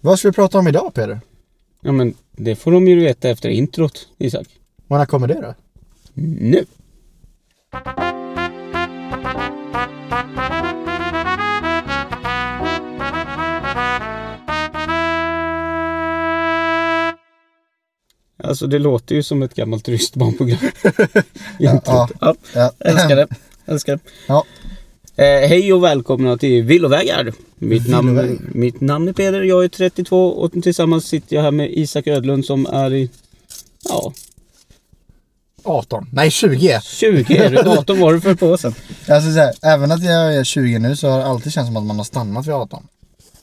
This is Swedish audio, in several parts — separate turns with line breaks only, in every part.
Vad ska vi prata om idag Peder?
Ja men det får de ju veta efter introt, Isak.
Och när kommer det då?
Nu! Alltså det låter ju som ett gammalt ryskt barnprogram. Introt.
ja.
Ja,
Ja.
älskar det. Älskar det.
Ja.
Eh, hej och välkomna till Villovägar. Mitt namn,
Villovägar.
mitt namn är Peder, jag är 32 och tillsammans sitter jag här med Isak Ödlund som är i... Ja,
18. Nej 20.
20 är du. Datum var du för på sen.
Alltså så här, även att jag är 20 nu så har det alltid känts som att man har stannat vid 18.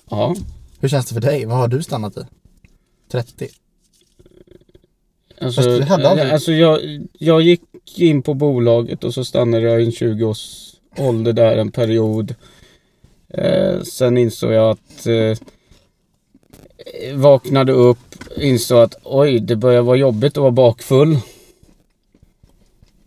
Ja,
Hur känns det för dig? Vad har du stannat i? 30?
alltså,
Fast du hade aldrig-
alltså jag, jag gick in på bolaget och så stannade jag i en 20-års ålder där en period. Eh, sen insåg jag att... Eh, vaknade upp, insåg att oj, det börjar vara jobbigt att vara bakfull.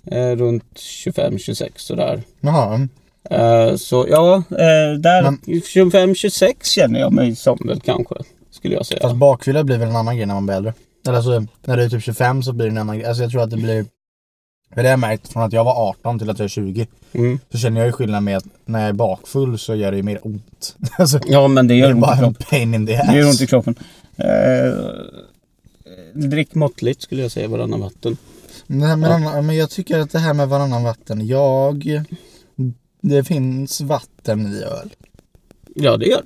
Eh, runt 25-26 sådär.
Jaha. mm.
Eh, så ja, eh, där
Men-
25-26 känner jag mig som väl kanske. Skulle jag säga.
Fast bakfylla blir väl en annan grej när man blir äldre? Eller alltså, när du är typ 25 så blir det en annan grej. Alltså jag tror att det blir... För det har jag märkt från att jag var 18 till att jag är 20.
Mm.
Så känner jag ju skillnad med att när jag är bakfull så gör det ju mer ont. Alltså,
Ja men det
det
gör
är
ont i
bara en
kroppen.
pain in the ass.
Det gör ont i kroppen. Eh, drick måttligt skulle jag säga varannan vatten.
Nej, men, annan, men jag tycker att det här med varannan vatten. Jag... Det finns vatten i öl. Mm.
Ja det gör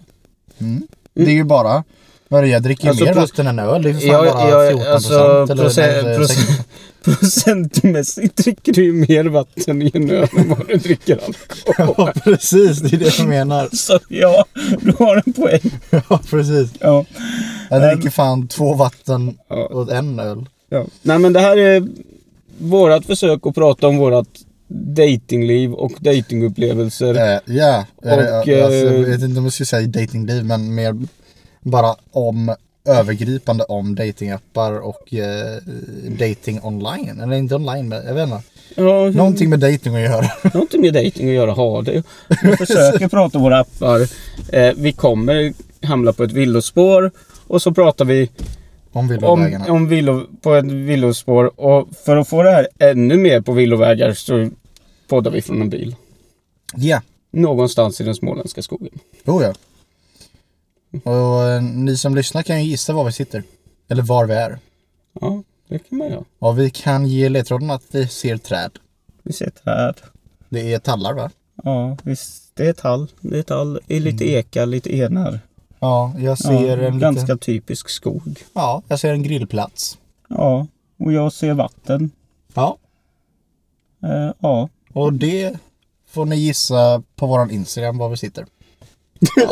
Det är ju bara... Vad är det, jag dricker ju
Alltså,
mer
pro-
vatten än öl. Det är för fan
Ja,
bara
ja,
14
alltså,
eller
proce-
nej,
proce-
16.
Procentmässigt dricker du ju mer vatten i en öl än vad du dricker alkohol.
Ja, precis. Det är det jag menar.
Så ja, du har en poäng.
Ja, precis.
Ja.
Jag dricker fan två vatten
Ja.
och en öl.
Ja. Nej men det här är vårat försök att prata om vårat datingliv och datingupplevelser.
Eh, Ja, eh,
Och,
alltså, jag
eh,
vet inte om jag skulle säga datingliv men mer bara om övergripande om datingappar och eh, dating online. Eller inte online men jag vet
Mm.
inte.
Ja, hur-
Någonting med dating att göra.
Det har inte med dating att göra, har det. Vi försöker prata om våra appar. Eh, vi kommer hamna på ett villospår och så pratar vi
Om
om,
villovägarna.
om villo, på ett villospår. Och för att få det här ännu mer på villovägar så poddar vi från en bil.
Ja,
Någonstans i den småländska skogen.
oh ja. Och eh, ni som lyssnar kan ju gissa var vi sitter. Eller var vi är.
Ja, det kan man göra.
Och vi kan ge ledtråden att vi ser träd.
Vi sitter här.
Det är tallar va?
Ja, visst. Det är tall. Det är tall. Det är lite eka, lite enar.
Ja, jag ser
Ja,
en
ganska
liten...
typisk skog.
Ja, jag ser en grillplats.
Ja, och jag ser vatten.
Ja,
Eh, ja.
Och det får ni gissa på våran Instagram var vi sitter.
Mm.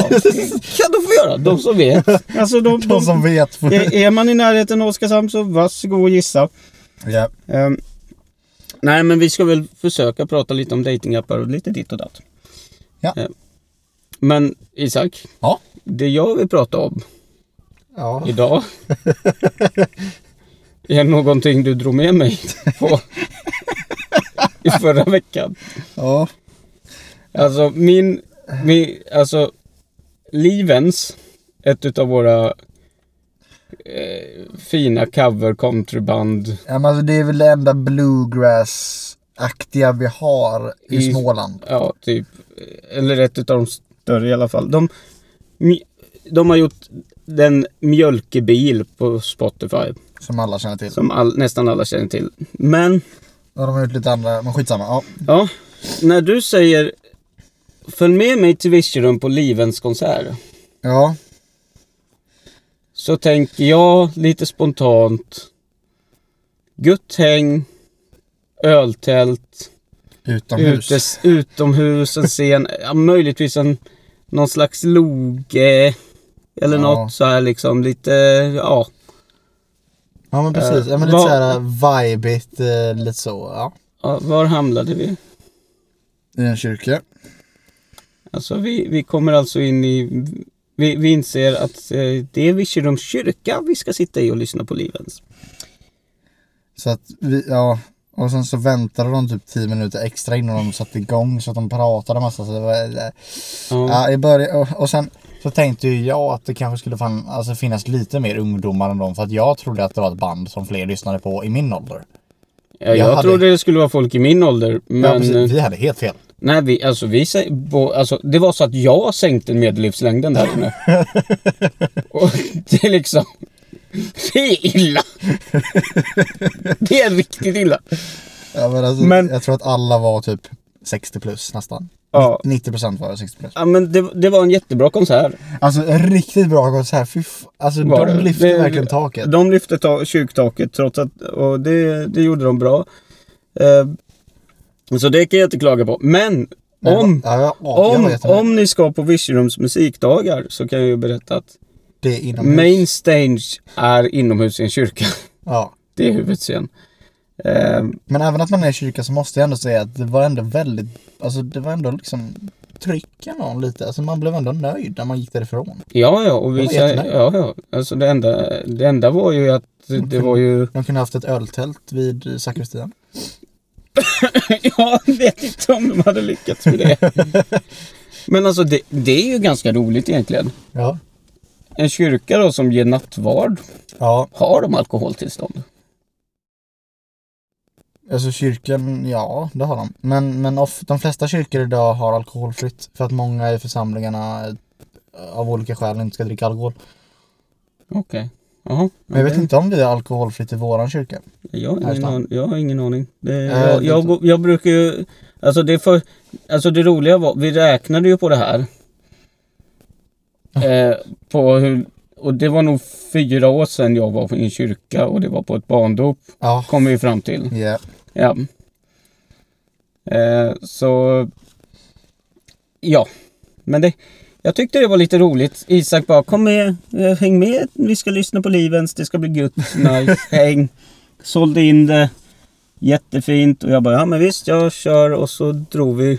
kan de få göra, de som vet. Alltså de,
De som vet. får-
är, är man i närheten av Oskarshamn så varsågod och gissa.
Ja.
Ehm, nej men vi ska väl försöka prata lite om datingappar och lite ditt och datt.
Ja.
Ehm, men Isak,
Ja.
det jag vill prata om
ja.
idag är någonting du drog med mig på i förra veckan.
ja.
Alltså min, min alltså Livens, ett utav våra eh, fina cover countryband.
men alltså det är väl det enda bluegrass-aktiga vi har i,
I-
Småland.
Ja, typ. Eller ett utav de större i alla fall. De, mj- de har gjort den mjölkebil på Spotify.
Som alla känner till.
Som all, nästan alla känner till. Men,
Och de har gjort lite andra, men skitsamma. Ja.
ja. När du säger Följ med mig till Virserum på Livens konsert.
ja.
Så tänker jag lite spontant. Gött häng. Öltält.
Utomhus.
Utes, utomhus, en scen. Ja, möjligtvis en, någon slags loge. Eller
Ja.
något så här liksom lite, ja.
Ja men precis.
Eh,
ja, men lite
vad-
såhär vibigt, eh, lite så. Ja.
ja var hamnade vi?
I en kyrka.
Alltså vi, vi kommer alltså in i... Vi, vi inser att eh, det är Virserums kyrka vi ska sitta i och lyssna på Livens.
Så att vi, ja. Och sen så väntade de typ 10 minuter extra innan de satte igång så att de pratade massa. Så det var,
Ja.
Ja, i början och, och sen Så tänkte ju jag att det kanske skulle fan, alltså, finnas lite mer ungdomar än dem. För att jag trodde att det var ett band som fler lyssnade på i min ålder.
Ja, jag
Jag hade-
trodde det skulle vara folk i min ålder.
ja,
Men
precis,
eh,
vi hade helt fel.
nej, vi, alltså, vi, sä- bo- alltså, det var så att jag sänkte medellivslängden där inne. Och det är liksom... Det är illa. Det är riktigt illa.
Ja, men alltså,
Men-
Jag tror att alla var typ 60 plus nästan.
Ja.
90 procent var 60 plus.
Ja, men det, det var en jättebra konsert.
Alltså en riktigt bra konsert. Fy f- alltså
Var
de
det?
lyfte
Det-
verkligen taket.
De lyfte ta- kyrktaket trots att, och det, det gjorde de bra. Eh, så det kan jag inte klaga på. Men
Men-
om,
ja, ja, ja, jag
om,
vet inte.
om ni ska på Visionums musikdagar så kan jag ju berätta att
det är inomhus.
main stage är inomhus i en kyrka.
Ja.
Det är huvudscen. Eh,
Men även att man är i kyrka så måste jag ändå säga att det var ändå väldigt, alltså det var ändå liksom trycken någon lite. Alltså man blev ändå nöjd när man gick därifrån.
ja, ja, och
Det
vi,
var
ja,
jättenära.
ja, alltså det enda, det enda var ju att det var ju...
De kunde haft ett öltält vid sakristian.
Jag vet inte om de hade lyckats med det. Men alltså det, det är ju ganska roligt egentligen.
Ja.
En kyrka då som ger nattvard,
Ja,
har de alkoholtillstånd?
alltså kyrkan, ja det har de. Men, men of, de flesta kyrkor idag har alkoholfritt. För att många i församlingarna eh, av olika skäl inte ska dricka alkohol.
Okej. Jaha.
Men jag vet inte om vi är alkoholfritt i våran kyrka.
Jag har ingen,
Nästan.
aning. Jag har ingen aning. Det,
Nej,
jag,
det-
jag, går- jag brukar ju... Alltså det, är för, alltså det roliga var, vi räknade ju på det här. Eh, på hur, och det var nog fyra år sedan jag var i en kyrka och det var på ett barndop.
Ja.
Kom vi fram till.
Ja.
Ja. Eh, så... Ja. Men det... Jag tyckte det var lite roligt. Isak bara, kom med, eh, häng med, vi ska lyssna på Livens, det ska bli gött, nice, häng. Sålde in det. Jättefint. Och jag bara, ja men visst, jag kör. Och så drog vi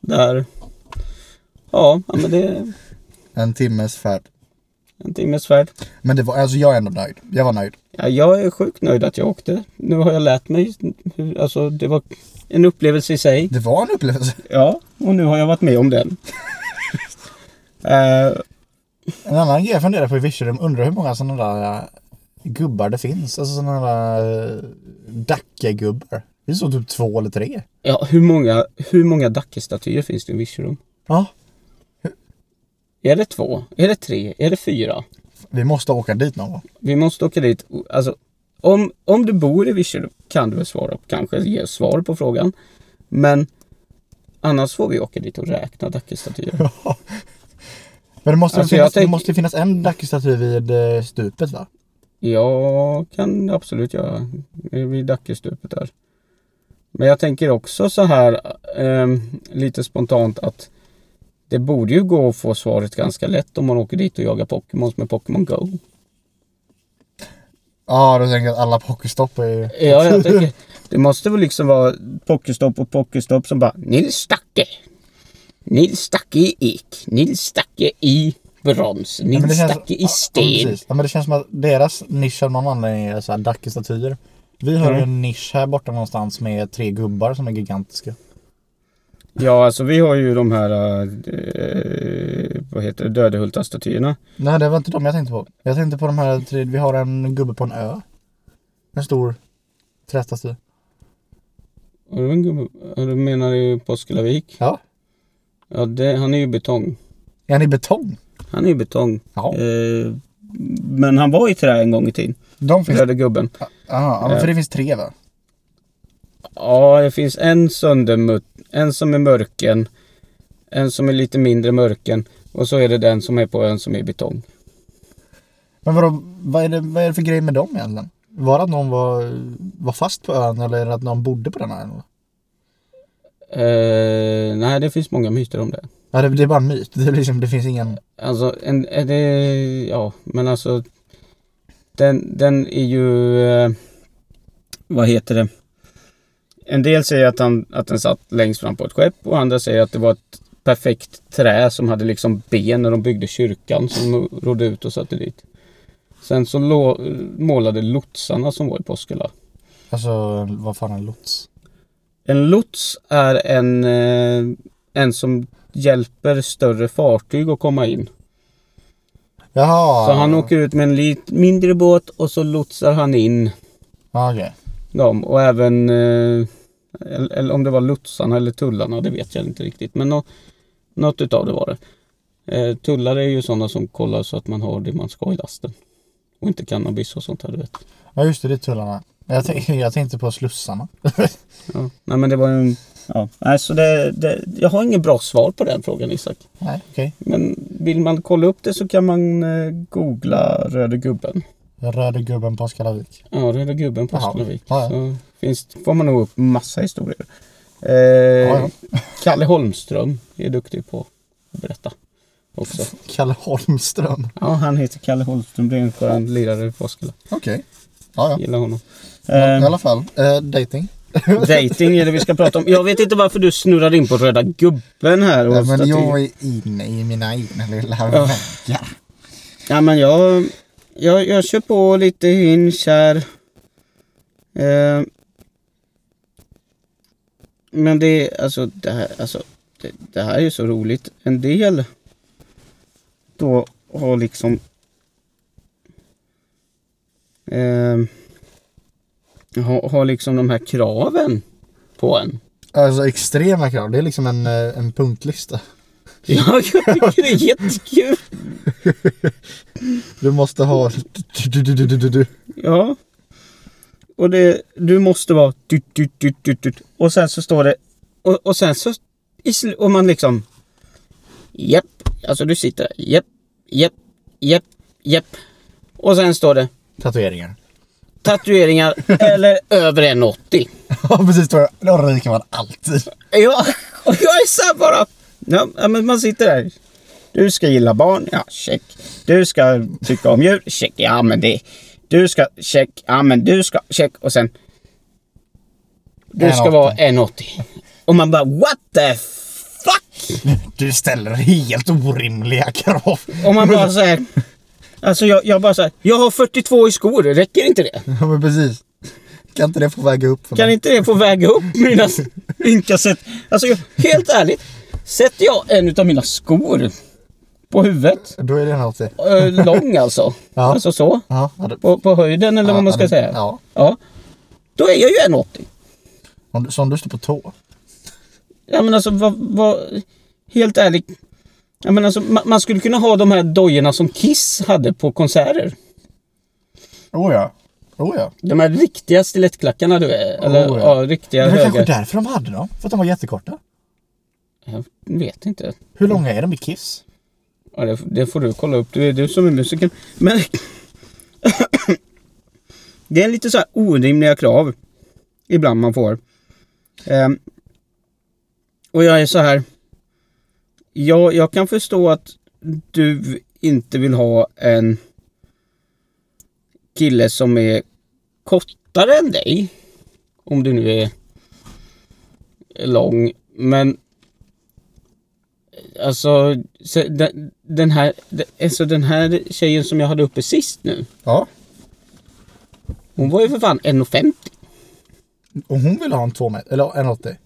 där. Ja, ja men det är
En timmes färd.
en timmes färd.
Men det var, alltså jag är ändå nöjd. Jag var nöjd.
Ja, jag är sjukt nöjd att jag åkte. Nu har jag lärt mig. hur- Alltså, det var en upplevelse i sig.
Det var en upplevelse.
Ja, och nu har jag varit med om den. Eh,
En annan grej jag funderar på i Virserum, undrar hur många sådana där eh, gubbar det finns. Alltså sådana där eh, Dacke-gubbar. Det är så typ två eller tre.
ja, hur många, hur många Dacke-statyer finns det i Virserum?
Ja.
Är det två? Är det tre? Är det fyra?
Vi måste åka dit någon gång.
Vi måste åka dit. Alltså, om, om du bor i Virserum kan du väl svara, kanske ge svar på frågan. Men annars får vi åka dit och räkna Dacke-statyer.
Men det måste,
Alltså, jag
finnas,
tänk-
det måste ju finnas en Dacke-staty vid eh, stupet va?
Jag kan absolut göra eh, vid Dackestupet där. Men jag tänker också så här ehm, lite spontant att det borde ju gå att få svaret ganska lätt om man åker dit och jagar Pokémons med Pokémon Go.
Ja, då tänker jag att alla pokerstopp är ju...
Ja, jag tänker, det måste väl liksom vara Pokéstopp och Pokéstopp som bara Nils Dacke. Nils Dacke i ek. Nils Dacke i brons.
men
Nils
känns-
Dacke
ja,
i sten.
Ja, precis. ja, men det känns som att deras nisch av någon anledning är så här Dacke-statyer. Vi har ju en nisch här borta någonstans med tre gubbar som är gigantiska.
Ja, alltså vi har ju de här, eh, vad heter det, Dödehulta-statyerna.
Nej, det var inte de jag tänkte på. Jag tänkte på de här tre. Vi har en gubbe på en ö. En stor trästaty.
Har du en gubbe- ja, Du menar ju Påskelavik?
Ja.
Ja, det, han är ju betong.
Är han i betong?
Han är ju betong.
Ja.
Eh, men han var i trä en gång i tiden,
De finns...
röde gubben.
Aha, ja, men för det finns tre va?
Ja, det finns en söndermutt, en som är mörken, en som är lite mindre mörken och så är det den som är på ön som är i betong.
Men vadå, vad är, det, vad är det för grej med dem egentligen? Var det att någon var, var fast på ön eller är det att någon bodde på den här ön?
Eh, nej, det finns många myter om det.
Ja, det, det är bara en myt. Det, är liksom, det finns ingen...
Alltså, en, är det, ja, men alltså. Den, den är ju, eh, vad heter det? En del säger att, han, att den satt längst fram på ett skepp och andra säger att det var ett perfekt trä som hade liksom ben när de byggde kyrkan som de rodde ut och satte dit. Sen så lå, målade lotsarna som var i Påskela.
Alltså, vad fan är en lots?
En lots är en, eh, en som hjälper större fartyg att komma in.
Jaha.
Så han åker ut med en lite mindre båt och så lotsar han in
Ja, okej.
dem. Och även, eh, eller, eller om det var lotsarna eller tullarna, det vet jag inte riktigt. Men nå, något utav det var det. Eh, tullare är ju sådana som kollar så att man har det man ska i lasten. Och inte cannabis och sånt här du vet.
Ja, just det. Det är tullarna. Jag, tänk- jag tänkte på slussarna.
Ja. Nej men det var ju en... Ja. Nej, så det, det, jag har inget bra svar på den frågan Isak.
Nej, okej.
Men vill man kolla upp det så kan man eh, googla Röde gubben.
Röde gubben på Skalavik.
Ja, Röda gubben på
Jaha.
Östervik.
Ja, ja.
Så finns, får man nog upp massa historier. Eh,
ja.
Kalle Holmström är duktig på att berätta också.
Kalle Holmström.
Ja, han heter Kalle Holmström. Det är en skön lirare i Påskela.
Okej. Ja, ja.
Gillar honom.
I
Eh,
alla fall. Eh, dating.
dating är det vi ska prata om. Jag vet inte varför du snurrar in på Röda gubben här. och
Ja, Eh, men
staty-
jag är inne i mina egna lilla
Ja.
väggar.
Ja, men jag, jag, jag kör på lite hinge här. Eh, men det, alltså, det, här, alltså det, det här är ju så roligt. En del då har liksom... Eh, har, har liksom de här kraven på en.
Alltså extrema krav. Det är liksom en, eh, en punktlista.
Ja, jag tycker det är jättekul.
Du måste ha...
Ja. Och det, du måste vara tut, tut, tut, tut, tut. Och sen så står det... Och, och sen så... i sl- Och man liksom... Japp. Alltså du sitter där. Japp, japp, japp, japp. Och sen står det
Tatueringar.
tatueringar eller över 1,80.
Ja precis, då då ryker man alltid.
Ja, och jag är så här bara... Ja, ja, men man sitter där. Du ska gilla barn, ja check. Du ska tycka om djur, check. Ja men det... Du ska, check. Ja men du ska, check. Och sen... Du ska
1,80.
vara 1,80. Och man bara what the fuck?
Du ställer helt orimliga krav.
Och man bara så här... Alltså jag, jag bara så här, jag har 42 i skor, räcker inte det?
Ja men precis. Kan inte det få väga upp för
Kan
mig?
inte det få väga upp mina ynka sätt? Alltså jag, helt ärligt, sätter jag en utav mina skor på huvudet
Då är det något det.
Eh, lång alltså.
Ja.
Alltså så.
Ja, ja, det-
På, på höjden eller
ja,
vad man ska
det-
säga.
Ja.
Ja. Då är jag ju 1,80.
Om du, så om du står på tå.
Ja men alltså vad, vad, helt ärligt. Ja, men alltså, man, man skulle kunna ha de här dojorna som Kiss hade på konserter.
Oh ja. Oh ja.
De här riktiga stilettklackarna du är. Eller
Oh, ja.
ja. riktiga
Det var kanske
höga.
därför de hade dem. För att de var jättekorta.
Jag vet inte.
Hur långa är de i Kiss?
Ja, det, det får du kolla upp. Du är du som är musikern. Men... det är lite så här orimliga krav. Ibland man får. Ehm, och jag är så här. Jag, jag kan förstå att du inte vill ha en kille som är kortare än dig. Om du nu är lång. Men alltså, se- den, den här, den- alltså den här tjejen som jag hade uppe sist nu.
Ja.
Hon var ju för fan 1,50.
Och hon vill ha en 2 meter, eller en 80.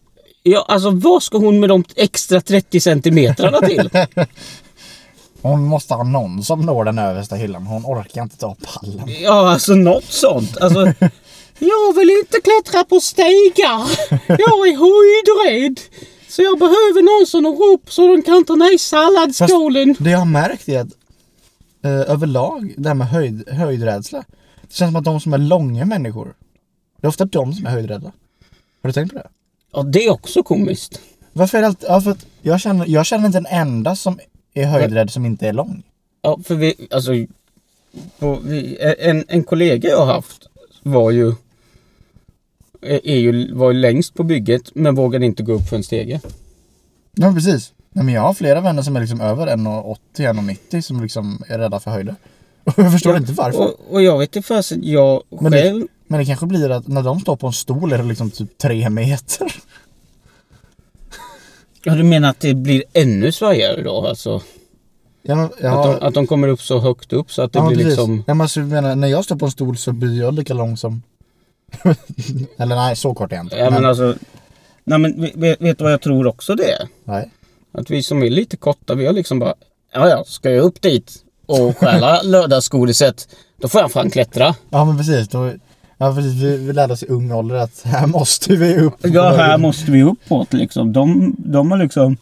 Ja, alltså vad ska hon med de extra 30 centimetrarna till?
Hon måste ha någon som når den översta hyllan. Hon orkar inte ta pallen.
Ja, alltså något sånt. Alltså, jag vill inte klättra på stegar. Jag är höjdrädd. Så jag behöver någon som når upp så de kan ta ner salladsskålen.
Det jag har märkt är att eh, överlag, det här med höjd, höjdrädsla. Det känns som att de som är långa människor, det är ofta de som är höjdrädda. Har du tänkt på det?
Ja, det är också komiskt.
Varför är det alltid, ja, för att jag känner, jag känner inte en enda som är höjdrädd som inte är lång.
Ja, för vi, alltså, på, vi, en, en kollega jag har haft var ju, är är ju, var ju längst på bygget men vågade inte gå upp för en stege.
Ja precis. Nej, men jag har flera vänner som är liksom över 1,80, 1,90 som liksom är rädda för höjder. Och jag förstår inte varför.
Och, och jag vet inte fast jag
Men det-
själv,
Men det kanske blir att när de står på en stol är det liksom typ tre meter.
ja, du menar att det blir ännu svajigare då alltså?
Ja, men, ja,
Att, de, att de kommer upp så högt upp så att det
ja, men
blir
precis.
liksom...
Ja, men så jag menar, när jag står på en stol så blir jag lika lång som... Eller nej, så kort är jag inte.
Ja, men alltså, nej men ve- ve- vet du vad jag tror också det är?
nej.
Att vi som är lite korta, vi har liksom bara, ja ja, ska jag upp dit? och stjäla lördagsgodiset, då får jag fan klättra.
Ja men precis. Då, ja, precis vi, vi lärde oss i ung ålder att här måste vi upp.
Ja, här måste vi uppåt liksom. De, de har liksom...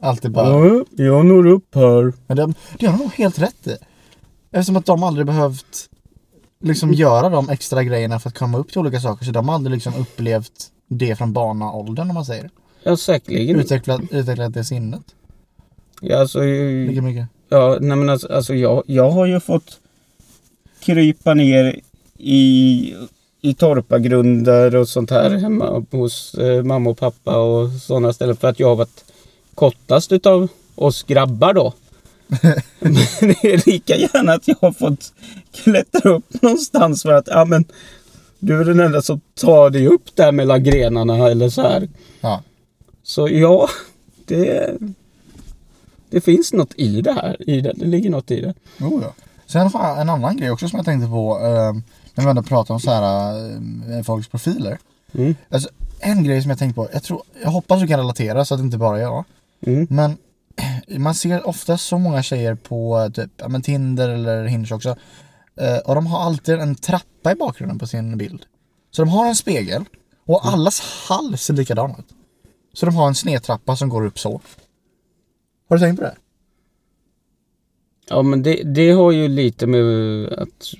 Alltid bara.
Ja, jag når upp här.
Men det, det har de nog helt rätt i. Eftersom att de aldrig behövt liksom göra de extra grejerna för att komma upp till olika saker. Så de har aldrig liksom upplevt det från barnaåldern om man säger.
Ja, säkerligen.
Utvecklat, utvecklat det sinnet.
Ja, alltså,
Lika mycket.
ja, nej, men alltså, alltså jag, jag har ju fått krypa ner i, i torpagrunder och sånt här hemma hos eh, mamma och pappa och sådana ställen för att jag har varit kortast utav oss grabbar då. men det är lika gärna att jag har fått klättra upp någonstans för att ja, men, du är den enda som tar dig upp där mellan grenarna eller så här.
Ja.
Så ja, det, det finns något i det här. I det, det ligger något i det.
Jo, ja. Sen har jag en annan grej också som jag tänkte på. Eh, när vi ändå pratar om så här, eh, folks profiler.
Mm.
Alltså, en grej som jag tänkt på. Jag, tror, jag hoppas du kan relatera så att det inte bara är jag.
Mm.
Men man ser ofta så många tjejer på eh, typ, ja, men Tinder eller Hinge också. Eh, och de har alltid en trappa i bakgrunden på sin bild. Så de har en spegel och
Mm.
allas hals ser likadan ut. Så de har en snedtrappa som går upp så. Har du tänkt på det?
Ja, men det, det har ju lite med att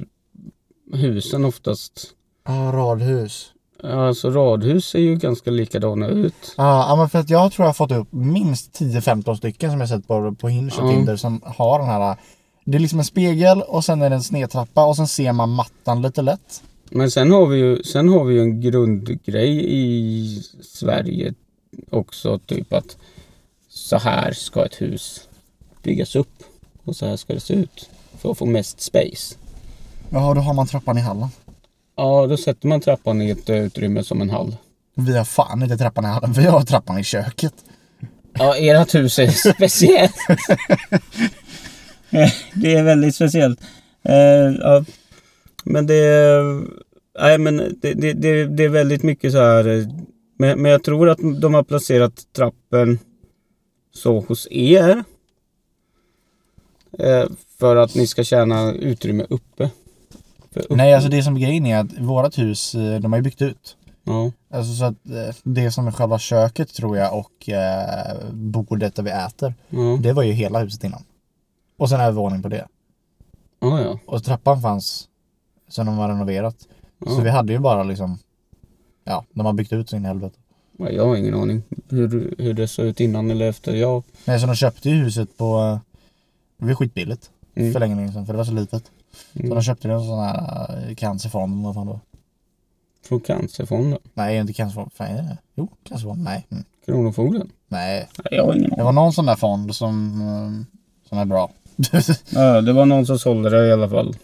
husen oftast...
Ja, radhus.
ja, Alltså radhus ser ju ganska likadana ut.
Ja, ja, men för att jag tror jag har fått upp minst 10-15 stycken som jag sett på, på Hinge och
Ja.
Tinder som har den här. Det är liksom en spegel och sen är det en snedtrappa och sen ser man mattan lite lätt.
Men sen har vi ju, sen har vi ju en grundgrej i Sverige också. Typ att så här ska ett hus byggas upp. Och så här ska det se ut. För att få mest space.
Ja, då har man trappan i hallen.
Ja, då sätter man trappan i ett utrymme som en hall.
Vi har fan inte trappan i hallen, vi har trappan i köket.
Ja, ert hus är speciellt. det är väldigt speciellt. Eh, ja. Men det är... Nej, men det, det, det, det är väldigt mycket så här... eh, Men, men jag tror att de har placerat trappen så hos er. Eh, för att ni ska tjäna utrymme uppe. För uppe.
Nej, alltså det som är grejen är att vårat hus, eh, de har ju byggt ut.
Ja.
Alltså så att eh, det som är själva köket tror jag och eh, bordet där vi äter,
Ja.
det var ju hela huset innan. Och sen övervåning på det.
Ja, ja.
Och trappan fanns sen de har renoverat. Så vi hade ju bara liksom, ja, de har byggt ut sin helvete.
Ja, Jag har ingen aning hur, hur det såg ut innan eller efter. Jag,
Nej, så de köpte ju huset på, eh, det var skitbilligt
Mm.
för länge, länge sedan, för det var så litet. Så
Mm.
de köpte ju en sån här eh, cancerfond, eller vad fan det var.
från Cancerfonden.
Nej, inte cancerfond, fan är det? Jo, cancerfond, nej. Mm.
Kronofogden?
Nej,
Jag har ingen
det var någon sån där fond som, eh, som är bra.
Ja, det var någon som sålde det i alla fall.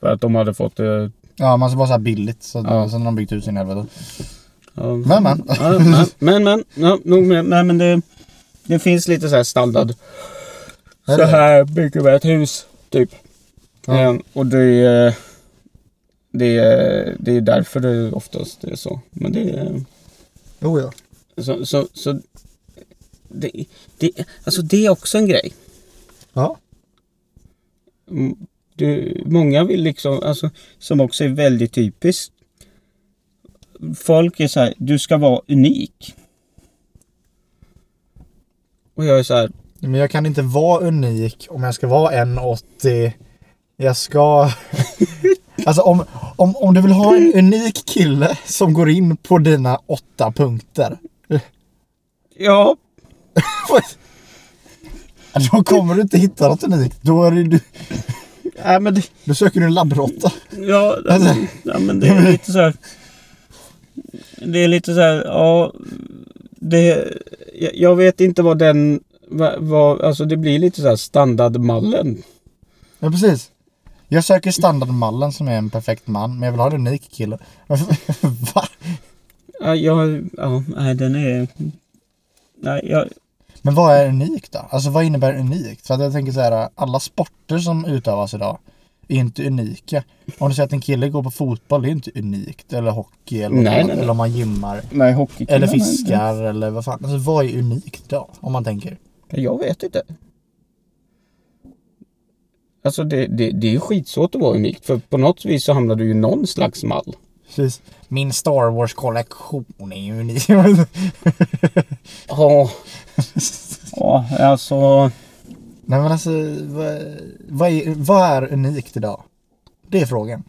För att de hade fått eh, det.
ja, man ska bara så här billigt, så
Ja.
sen har de byggt ut sin helvete.
Ja.
Men men.
Ja, men, men, men, ja, nog med. Nej, men det, det finns lite så här standard.
Är
Så
det?
här bygger vi ett hus, typ.
Ja.
Eh, och det är, det, är, det är därför det oftast är så. Men det är,
Jo, ja.
så, så, så det, det, alltså det är också en grej.
Ja.
Mm, du, många vill liksom, alltså, som också är väldigt typiskt. Folk är så här, du ska vara unik. Och jag är så här,
Men jag kan inte vara unik om jag ska vara 1,80. Jag ska... alltså om, om, om du vill ha en unik kille som går in på dina åtta punkter.
ja,
Då kommer du inte hitta något unikt. Då, är det, du,
nej men det,
då söker du en labbråtta.
ja,
Alltså.
ja, men det är lite så här. Det är lite så här, ja, det, jag- jag vet inte vad den, vad, vad, alltså det blir lite så här standardmallen.
Ja precis. Jag söker standardmallen som är en perfekt man, men jag vill ha en unik kille. Va?
Ja, jag, ja, nej den är, nej jag,
Men vad är unikt då? Alltså vad innebär unikt? För att jag tänker så här, alla sporter som utövas idag är inte unika. Om du säger att en kille går på fotboll, det är inte unikt. Eller hockey eller, något
Nej,
annat.
nej, nej.
eller om man gymmar.
nej hockeykillarna.
Eller fiskar eller vad fan. Alltså vad är unikt då? Om man tänker.
Jag vet inte. Alltså det, det, det är ju skitsvårt att vara unikt. För på något vis så hamnar du ju i någon slags mall.
Precis. Min Star Wars-kollektion är ju unik.
Ja. Ja, alltså.
Nej men alltså, vad, vad, är, vad är unikt idag? Det är frågan.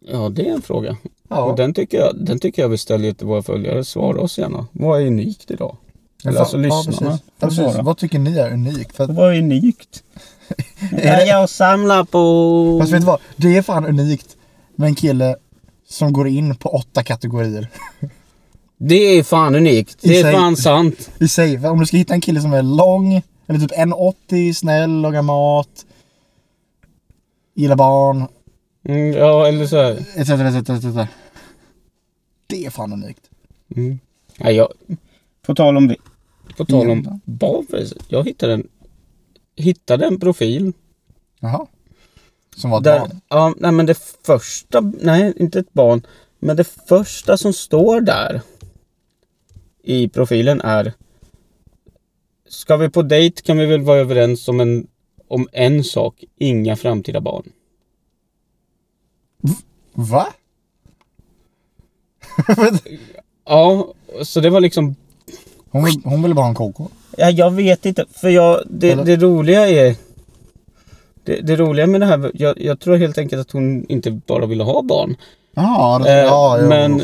Ja, det är en fråga.
Ja.
Och den tycker, jag, den tycker jag vi ställer till våra följare. Svara oss gärna. Vad är unikt idag?
Men
Eller
fan-
alltså lyssnarna.
Ja, precis. Ja,
får
precis.
svara.
Vad tycker ni är unikt? För att,
Vad är unikt? Ja, jag samlar på...
fast vet du vad? Det är fan unikt med en kille som går in på åtta kategorier.
Det är fan unikt.
I
Det
sig.
är fan sant.
I sig, va? om du ska hitta en kille som är lång, eller typ 1,80, snäll, lagar mat, gillar barn,
Mm, ja, eller så här.
etc, etc, etc. Det är fan unikt.
Mm. Ja, jag,
På tal om det.
på tal
Ja.
om Babers. Jag hittade en, hittade en profil.
Jaha. Som var ett
Där,
barn.
ja, nej, men det första... Nej, inte ett barn. Men det första som står där i profilen är... Ska vi på dejt kan vi väl vara överens om en, om en sak. Inga framtida barn.
Va?
Ja, så det var liksom
Hon vill, hon vill bara ha en KK.
Ja, jag vet inte. För jag, det,
Eller-
det roliga är... Det, det roliga med det här, jag, jag tror helt enkelt att hon inte bara ville ha barn.
Alltså, Ja, det,
Eh,
ja, jo.
men,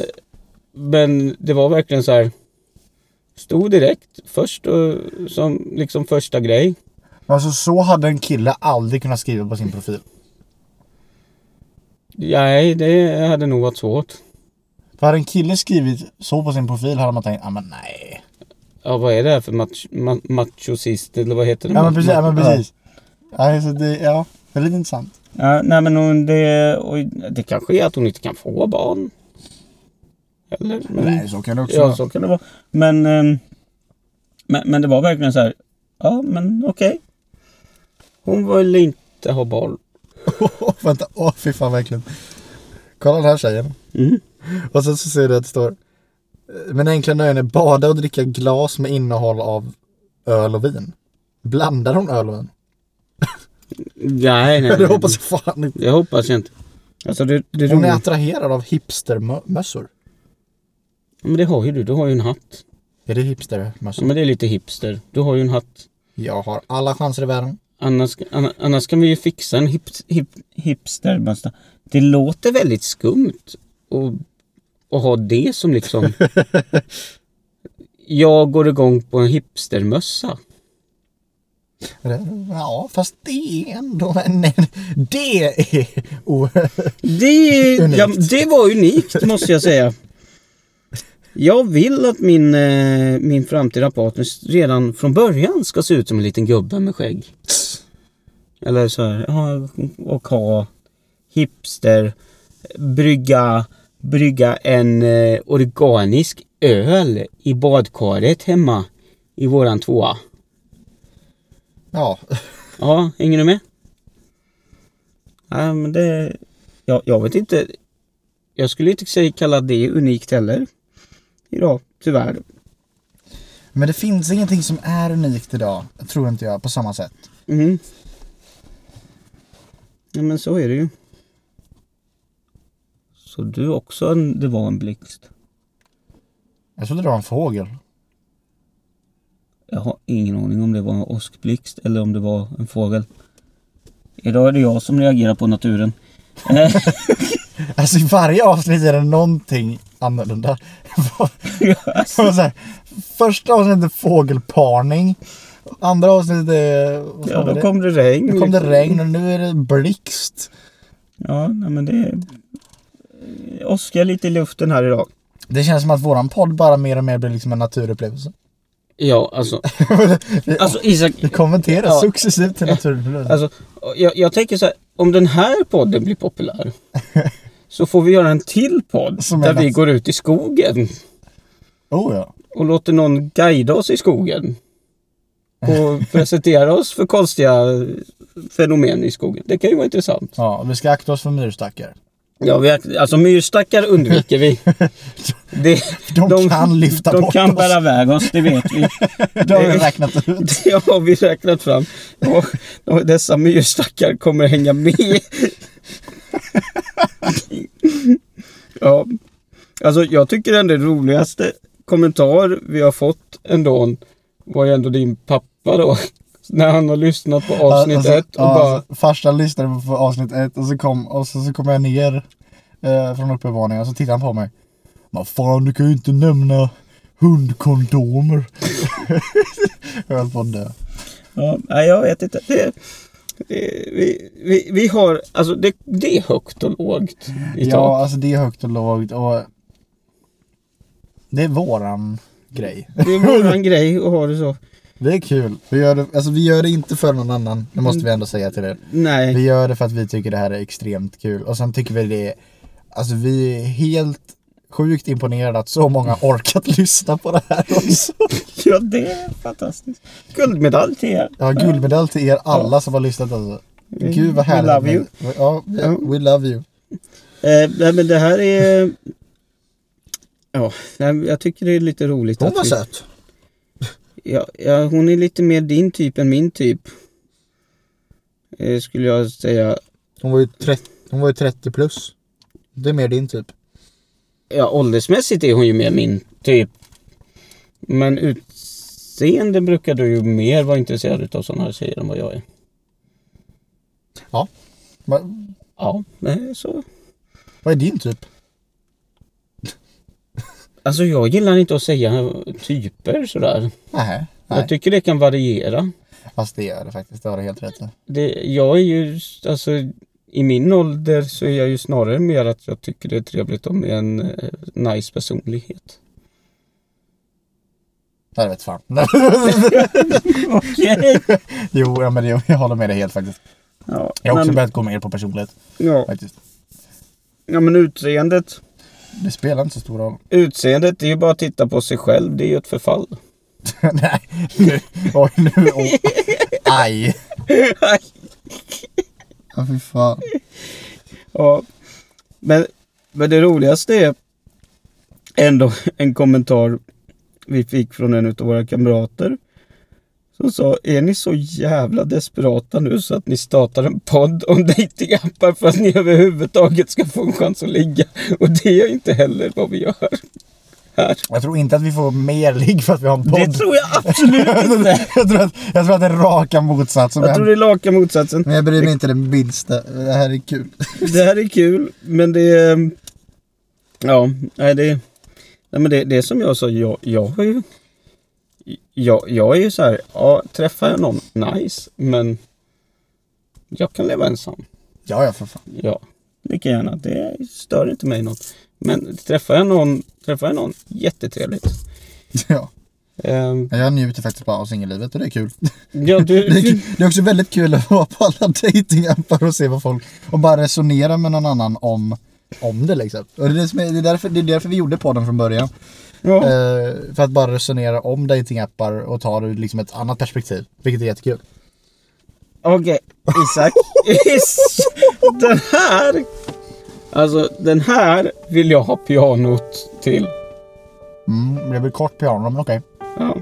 men det var verkligen så här. Stod direkt först och, som liksom första grej.
Alltså så hade en kille aldrig kunnat skriva på sin profil.
Nej, det hade nog varit svårt.
För hade en kille skrivit så på sin profil hade man tänkt, ja men nej.
Ja, vad är det här för mach, ma, machosist eller vad heter det?
Ja men precis, ja men
Ma-
precis. Ja, så det, ja, det är lite intressant.
Ja, nej men hon, det, och, det kanske är att hon inte kan få barn. Eller? Men,
Nej, så kan det också
Ja,
vara.
så kan
Kan det vara. Men, ehm, men, men det var verkligen så här. Ja, men okej.
Hon vill inte ha barn.
Åh, vänta, åh fy fan verkligen. Kolla den här tjejen.
Mm.
Och sen så ser du att det står. eh, Men enkla nöjen är bada och dricka glas med innehåll av öl och vin. Blandar hon öl och vin?
Nej, nej.
Det hoppas jag fan inte.
jag hoppas jag inte. Alltså det, det
Hon är
roliga-
attraherad av hipstermössor.
Men det har ju du. Du har ju en hatt.
Är det
Ja,
hipstermössor?
men det är lite hipster. Du har ju en hatt.
Jag har alla chanser i världen.
Annars, anna- annars kan vi ju fixa en hip, hip, hipstermössa. Det låter väldigt skumt att att ha det som liksom... jag går igång på en hipstermössa.
Ja, fast det är ändå en... en- Det är... o-
Det,
Unikt.
ja, det var unikt måste jag säga. Jag vill att min, eh, min framtida partner redan från början ska se ut som en liten gubbe med skägg. Eller så här, ja, och ha hipster, brygga, brygga en eh, organisk öl i badkaret hemma i våran tvåa.
Ja,
Ja, hänger du med? Nej, men det... Jag, jag vet inte. Jag skulle inte säga kalla det unikt heller. Idag, tyvärr.
men det finns ingenting som är unikt idag, tror inte jag, på samma sätt.
Mm. Ja, men så är det ju. Så du också, en, det var en blixt.
Jag trodde det var en fågel.
Jag har ingen aning om det var en åskblixt eller om det var en fågel. Idag är det jag som reagerar på naturen.
Alltså i varje avsnitt är det någonting annorlunda. Det var så här, första avsnittet är fågelparning. Andra avsnittet är... vad fan
Ja,
var
då
det?
kom det regn.
nu kom det
liksom.
regn och nu är det blixt.
Ja, nej, men det är... Oskar lite i luften här idag.
Det känns som att våran podd bara mer och mer blir liksom en naturupplevelse.
Ja, alltså... alltså Isak,
Vi kommenterar
Ja.
successivt till naturupplevelse.
alltså, jag, jag tänker så här, om den här podden blir populär så får vi göra en till podd
Som är
där vi
nat-
går ut i skogen
Oh ja.
och låter någon guida oss i skogen. Och presentera oss för konstiga fenomen i skogen. Det kan ju vara intressant.
Ja, vi ska akta oss för myrstackar.
Ja, vi, har- alltså myrstackar undviker vi. Det,
De kan lyfta
de
bort
kan
oss.
bära iväg oss, det vet vi.
Det har vi räknat ut.
Det har vi räknat fram. Och, och dessa myrstackar kommer hänga med. Ja, alltså jag tycker ändå den roligaste kommentar vi har fått ändå var ju ändå din pappa då. När han har lyssnat på avsnitt
Alltså,
ett och
ja,
bara
alltså, farsan lyssnade på avsnitt ett och så kom, och så, så kom jag ner eh, från uppevåningen och så tittade han på mig. Vad fan, du kan ju inte nämna hundkondomer. jag höll på att dö.
Ja, nej, jag vet inte. Det, det, vi, vi, vi har, alltså det, det är högt och lågt i
Ja,
tak.
alltså det är högt och lågt och det är våran grej.
Det är våran grej att ha det så.
Det är kul. Vi gör det, alltså vi gör det inte för någon annan, det måste vi ändå säga till er. Vi
Nej,
gör det för att vi tycker det här är extremt kul och sen tycker vi det är, alltså vi är helt sjukt imponerade att så många orkat lyssna på det här också.
ja det är fantastiskt. Guldmedalj till er.
Ja, guldmedalj till er alla som har lyssnat alltså. Gud vad
we
härligt.
love you.
med- Ja, vi-
Ja.
we love you.
Eh, nej, men det här är... Ja, nej, men jag tycker det är lite roligt. att vi-
söt.
Ja, ja, hon är lite mer din typ än min typ. Eh, skulle jag säga.
Hon var ju 30, hon var ju 30 plus. Det är mer din typ.
Ja, åldersmässigt är hon ju mer min typ. Men utseende brukar du ju mer vara intresserad utav sådana här tjejer än vad jag är.
Ja. Men,
Ja, nej, så.
vad är din typ?
Alltså jag gillar inte att säga typer sådär.
Nähä.
Jag
Nej,
tycker det kan variera.
fast det gör det faktiskt. Det har du helt rätt i.
Det, jag är ju, alltså i min ålder så är jag ju snarare mer att jag tycker det är trevligt om det är en eh, nice personlighet.
Nej, Jag vet fan.
Okej!
jo, ja, men det, jag håller med dig helt faktiskt.
Ja,
Jag har också
men,
börjat gå mer på personlighet
ja,
faktiskt.
ja, men utseendet.
Det spelar inte så stor roll.
Utseendet, det är ju bara att titta på sig själv. Det är ju ett förfall.
Nej, nu. Oj, nu. Oh. Aj. Ja, fy fan.
Ja. Men, men det roligaste är ändå en kommentar vi fick från en av våra kamrater. Som sa, är ni så jävla desperata nu så att ni startar en podd om dejtingappar för att ni överhuvudtaget ska få en chans att ligga? Och det är inte heller vad vi gör.
Jag tror inte att vi får mer ligg för att vi har en podd.
Det tror jag absolut inte!
jag, tror att, jag tror att det är raka motsatsen.
Jag tror det är laka motsatsen.
Men jag bryr mig inte det minsta. Det här är kul.
Det här är kul, men det... är- mm, Ja, nej det... Nej men det, det är som jag sa, jag, jag har ju... Jag, jag är ju så här, ja, träffar jag någon, nice, men... Jag kan leva ensam.
Ja, ja, för fan.
Ja, lika gärna. Det stör inte mig något. Men träffar jag någon, träffar jag någon, jättetrevligt.
Ja.
Ehm,
Jag njuter faktiskt bara av singellivet och det är kul.
ja, du,
Det är, kul.
du,
det är också väldigt kul att vara på alla dejtingappar och se vad folk... Och bara resonera med någon annan om, om det liksom. Och det, är det, som är, det, är därför, det är därför vi gjorde podden från början.
ja,
Eh, för att bara resonera om dejtingappar och ta det ur liksom ett annat perspektiv. Vilket är jättekul.
okej, Isak. Is, den här! Alltså, den här vill jag ha pianot till.
Mm, det blir kort piano, men okej.
Ja.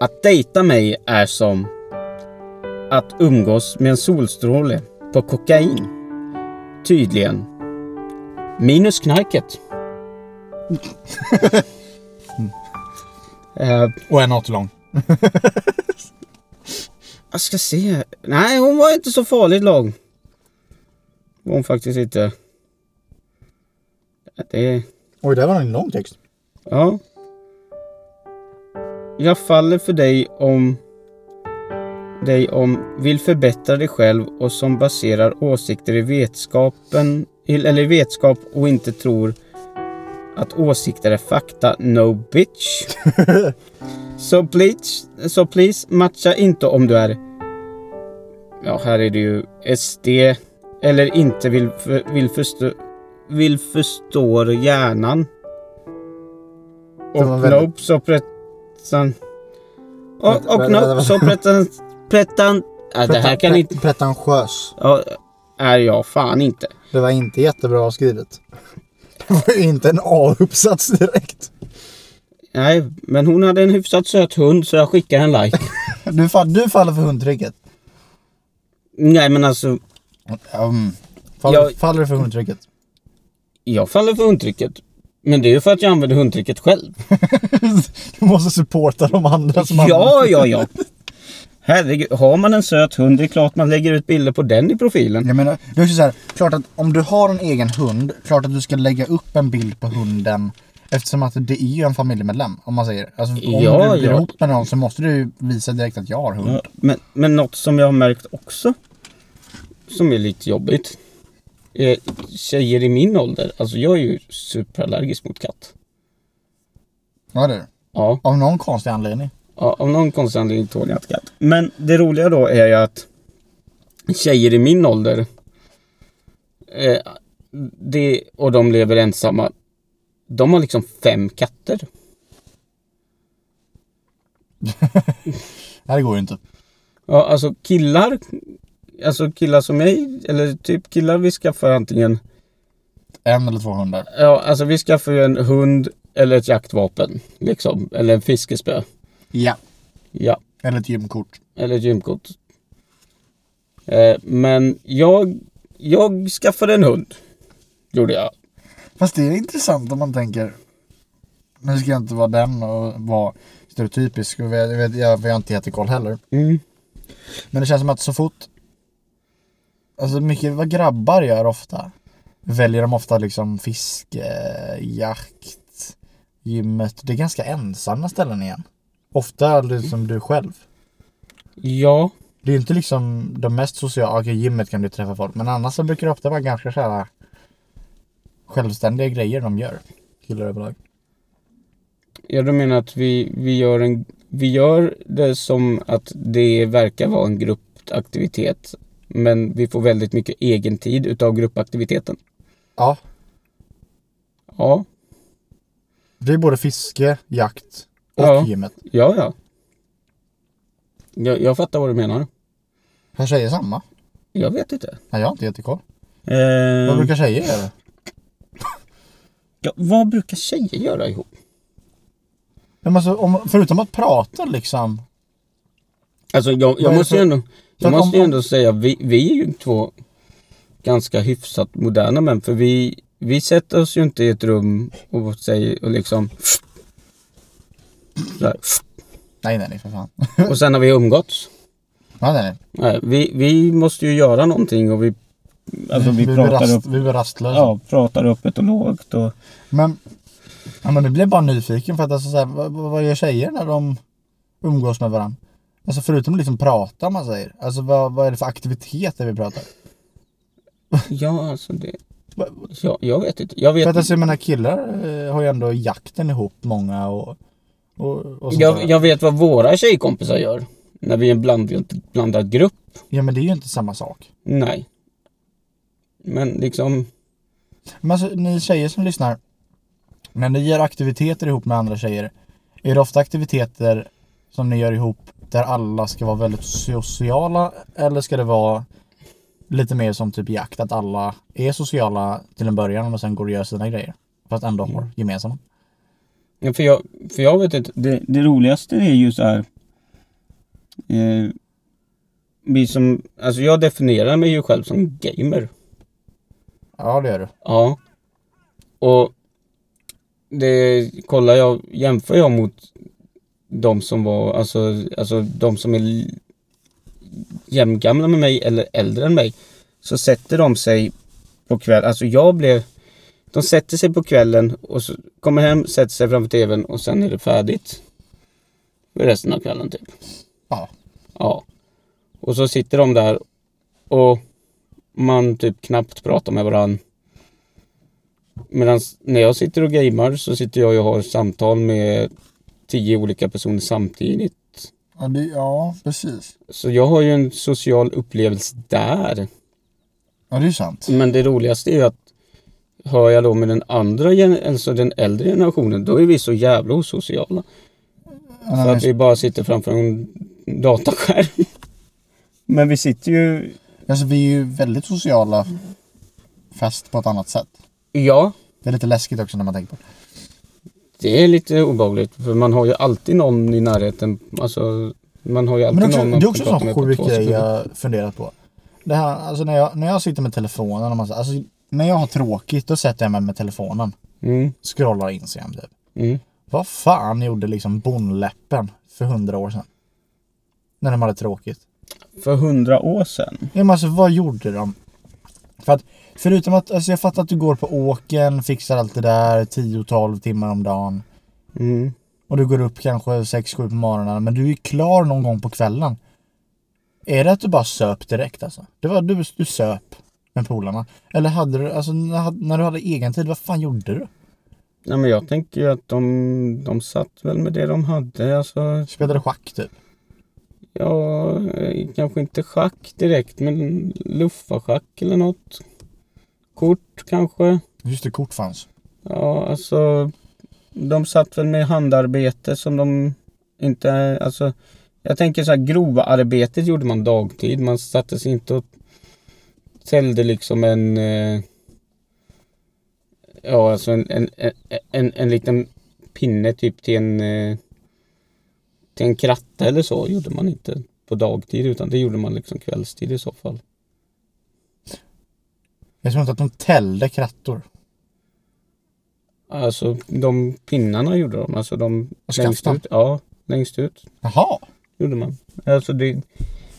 Att dejta mig är som att umgås med en solstråle på kokain. Tydligen. Minus knarket. Eh,
Och en åt lång.
jag ska se. Nej, hon var inte så farligt lång. Var Hon faktiskt inte. Det...
Oj, där var en lång text.
Ja. Jag faller för dig om dig om vill förbättra dig själv och som baserar åsikter i vetskapen eller i vetskap och inte tror att åsikter är fakta. No bitch. so please, so please matcha inte om du är ja här är det ju SD eller inte vill, för, vill förstå vill förstå hjärnan.
Det var
Och
väldigt-
nope så pretan... Och, och
Vänta, vänta,
nope så pretan... pretan ja, det här kan inte...
Pretentiös.
Ja, är jag fan inte.
Det var inte jättebra skrivet. Det var ju inte en A-uppsats direkt.
Nej, men hon hade en hyfsat söt hund så jag skickar en like.
Du, fall, du faller för hundtricket.
Nej, men alltså
Um, faller,
Jag-
faller du för hundtricket?
jag faller för hundtrycket. Men det är ju för att jag använder hundtrycket själv.
du måste supporta de andra som
Ja, ja, ja. Herregud, har man en söt hund, det är klart man lägger ut bilder på den i profilen.
Jag menar, det är ju så här, klart att om du har en egen hund, klart att du ska lägga upp en bild på hunden eftersom att det är ju en familjemedlem om man säger. Alltså, om
Ja,
du blir
ja.
ihop med någon så måste du visa direkt att jag har hund.
Ja, men, men något som jag har märkt också, som är lite jobbigt, är tjejer i min ålder. Alltså jag är ju superallergisk mot katt.
Ja, det är det.
Ja,
Av någon konstig anledning.
ja av någon konstig anledning tål jag inte katt. Men det roliga då är ju att tjejer i min ålder, eh, det, och de lever ensamma, de har liksom fem katter.
Nej, det går ju inte.
Ja, alltså killar, alltså killar som mig, eller typ killar vi skaffar antingen
En eller två hundar.
Ja, alltså vi skaffar ju en hund eller ett jaktvapen. Liksom. Eller en fiskespö.
Ja.
Ja.
Eller ett gymkort.
Eller ett gymkort. Eh, men jag, jag skaffade en hund. Gjorde jag.
Fast det är intressant om man tänker. Nu ska jag inte vara den och vara stereotypisk. Och jag, vet, jag, vi har inte jättekoll heller. Men det känns som att så fort... Alltså mycket vad grabbar gör ofta. Väljer de ofta liksom fiske, jakt, gymmet. Det är ganska ensamma ställen igen. Ofta liksom du själv.
Ja.
Det är ju inte liksom de mest sociala, okej gymmet kan du träffa folk, men annars så brukar det ofta vara ganska så här självständiga grejer de gör. Killar överlag.
Ja, du menar att vi, vi, gör en, vi gör det som att det verkar vara en gruppaktivitet. Men vi får väldigt mycket egen tid utav gruppaktiviteten.
Ja,
Ja,
det är både fiske, jakt och
Ja.
gymmet.
ja, ja. Jag, jag fattar vad du menar.
Har tjejer samma?
Jag vet inte.
Nej, jag har inte jättekoll. Vad
Eh,
brukar tjejer göra?
ja, vad brukar tjejer göra ihop?
Men alltså, om, förutom att prata liksom.
Alltså jag,
är
jag
det
måste
för-
ju ändå, jag
att om-
måste ju
om-
ändå säga, vi, vi är ju två ganska hyfsat moderna män för vi, vi sätter oss ju inte i ett rum och säger och liksom så här,
Nej, nej, nej för fan.
och sen har vi umgåtts.
Nej, nej, nej.
Nej, vi, vi måste ju göra någonting och vi, alltså vi
blir
pratar upp-
vi blir rastlösa.
Ja, pratar öppet och lågt och...
Men, ja, men det blev bara nyfiken för att alltså, så här, vad, vad vad gör tjejer när de umgås med varandra? Alltså förutom att liksom prata om man säger. Alltså vad, vad är det för aktiviteter vi pratar?
ja alltså det,
Va-
ja, jag vet inte. Jag
För
vet,
att alltså, jag menar killar eh, har ju ändå jakten ihop många och, och, och sånt där.
jag, jag vet vad våra tjejkompisar gör när vi är en blandad, blandad grupp.
Ja men det är ju inte samma sak.
Nej. Men liksom,
Men alltså ni tjejer som lyssnar. När ni gör aktiviteter ihop med andra tjejer. Är det ofta aktiviteter som ni gör ihop där alla ska vara väldigt sociala? Eller ska det vara lite mer som typ jakt? Att alla är sociala till en början men sen går och gör sina grejer. Fast ändå har gemensamma.
ja, för jag, för jag vet inte.
Det, det roligaste är ju så här... Eh,
Vi som, alltså jag definierar mig ju själv som gamer.
Ja det gör du.
Ja. Och det kollar jag, jämför jag mot de som var, alltså, alltså de som är l- jämngamla med mig eller äldre än mig. Så sätter de sig på kvällen, alltså jag blev, de sätter sig på kvällen och så kommer hem, sätter sig framför tvn och sen är det färdigt. För resten av kvällen typ.
Ja.
Ja. Och så sitter de där och man typ knappt pratar med varandra. Medan när jag sitter och gamer så sitter jag och har samtal med tio olika personer samtidigt.
Ja, det, ja precis.
Så jag har ju en social upplevelse där.
Ja det är sant.
Men det roligaste är ju att hör jag då med den andra, gen- alltså den äldre generationen, då är vi så jävla osociala. Så att vi bara sitter framför en dataskärm. Men vi sitter ju
Alltså, vi är ju väldigt sociala fast på ett annat sätt.
Ja,
Det är lite läskigt också när man tänker på det.
det är lite obehagligt. För man har ju alltid någon i närheten. Alltså, man har ju alltid
Men också, det
någon man
är
kan
också en
prata med på
sån sjuk
två
grej
sekunder.
jag funderat på. Det här, alltså när jag, när jag sitter med telefonen och man säger, alltså när jag har tråkigt då sätter jag mig med telefonen.
Mm,
Scrollar Instagram typ.
mm.
Vad fan gjorde liksom bonläppen för hundra år sedan? När de hade tråkigt.
För hundra år sedan.
Ja, men alltså vad gjorde de? För att, förutom att, alltså jag fattar att du går på åken, fixar allt det där 10-12 timmar om dagen.
Mm.
Och du går upp kanske 6-7 på morgonen, men du är klar någon gång på kvällen. Är det att du bara söp direkt alltså? Det var du, du söp med polarna. Eller hade du, alltså när, när du hade egen tid, vad fan gjorde du?
Nej, men jag tänker ju att de, de satt väl med det de hade. Alltså,
Spelade schack typ?
ja, eh, kanske inte schack direkt, men luffarschack eller något. Kort kanske.
Just det, kort fanns.
Ja, alltså. De satt väl med handarbete som de inte... Alltså, jag tänker så här, grova arbetet gjorde man dagtid. Man satte sig inte och täljde liksom en... eh, Ja, alltså en, en, en, en, en liten pinne typ till en... eh, Till en kratta eller så gjorde man inte på dagtid utan det gjorde man liksom kvällstid i så fall.
Jag tror inte att de tällde krattor.
Alltså de pinnarna gjorde de, alltså de
Och
längst
skaftan?
ut. Ja, längst ut.
Jaha!
gjorde man. Alltså det,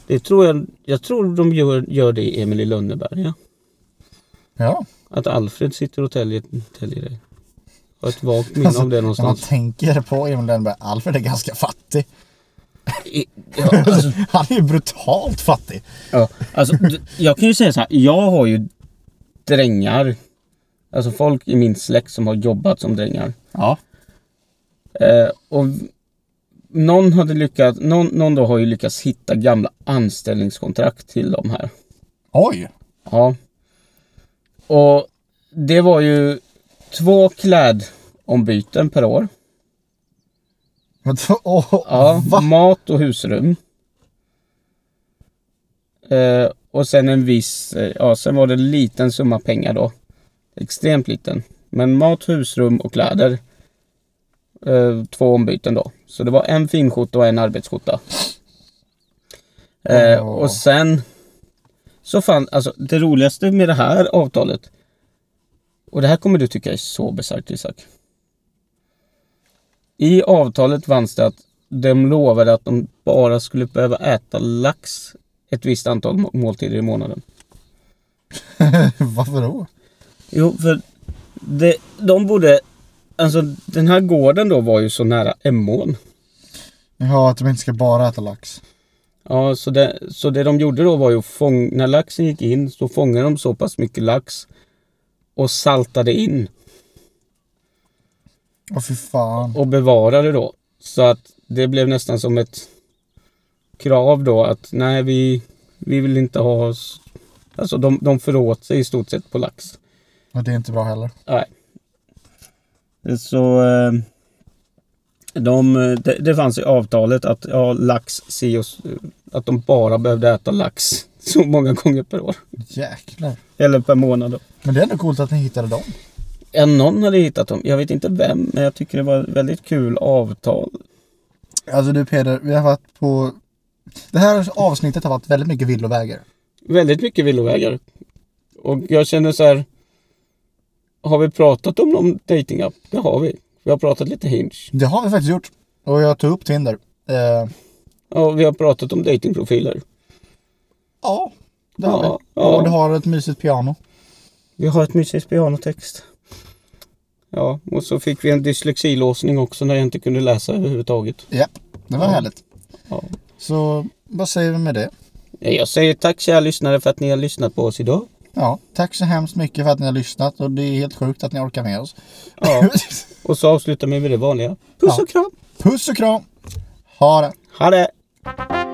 det tror jag, jag tror de gör, gör det i Emil i Lönneberga. Ja.
Ja,
Att Alfred sitter och täljer, täljer det. Jag har ett vagt minne av det
när man
någonstans.
tänker på Emil Lönneberg, Alfred är ganska fattig.
I- Ja, alltså,
Han är ju brutalt fattig.
ja, alltså, d- jag kan ju säga så här, jag har ju drängar. Alltså folk i min släkt som har jobbat som drängar.
Ja.
Eh, och v- någon, hade lyckats, någon, någon då har ju lyckats hitta gamla anställningskontrakt till de här.
Oj!
Ja. Och det var ju två klädombyten per år.
Men t- åh,
Ja,
va?
mat och husrum. Eh, och sen en viss, eh, ja sen var det en liten summa pengar då. Extremt liten. Men mat, husrum och kläder. Eh, två ombyten då. Så det var en finskjorta och en arbetsskjorta.
Åh.
Eh, Och sen så fann, alltså det roligaste med det här avtalet. Och det här kommer du tycka är så bisarrt Isak. I avtalet fanns det att de lovade att de bara skulle behöva äta lax ett visst antal må- måltider i månaden.
Varför då?
Jo, för det, de borde... Alltså den här gården då var ju så nära Emån.
Ja, att de inte ska bara äta lax.
Ja, så det, så det de gjorde då var ju att fång, när laxen gick in så fångade de så pass mycket lax och saltade in
Åh fy fan.
och bevarade då. Så att det blev nästan som ett krav då att nej, vi, vi vill inte ha... s- Alltså de, de föråt sig i stort sett på lax.
Och det är inte bra heller.
Nej. Så... eh, De, det, det fanns i avtalet att ja, lax, si och, s- att de bara behövde äta lax så många gånger per år.
Jäklar.
Eller per månad. då.
Men det är ändå coolt att ni hittade dem.
Ja, någon hade hittat dem. Jag vet inte vem, men jag tycker det var ett väldigt kul avtal.
Alltså du Peder, vi har varit på... Det här avsnittet har varit väldigt mycket villovägar.
Väldigt mycket villovägar. Och jag känner så här... Har vi pratat om någon datingapp? Det har vi. Vi har pratat lite Hinge.
Det har vi faktiskt gjort. Och jag tog upp Tinder. Eh,
Ja, vi har pratat om datingprofiler.
ja, det har
Ja,
vi.
ja.
Och du har ett mysigt piano.
Vi har ett mysigt pianotext. Ja, och så fick vi en dyslexilåsning också när jag inte kunde läsa överhuvudtaget.
Ja, det var
Ja.
härligt.
Ja.
Så vad säger vi med det?
Nej, Jag säger tack kära lyssnare för att ni har lyssnat på oss idag.
Ja, tack så hemskt mycket för att ni har lyssnat och det är helt sjukt att ni orkar med oss.
Ja, och så avslutar vi med det vanliga. Puss
Ja.
och kram!
Puss och kram! Ha det!
Ha det!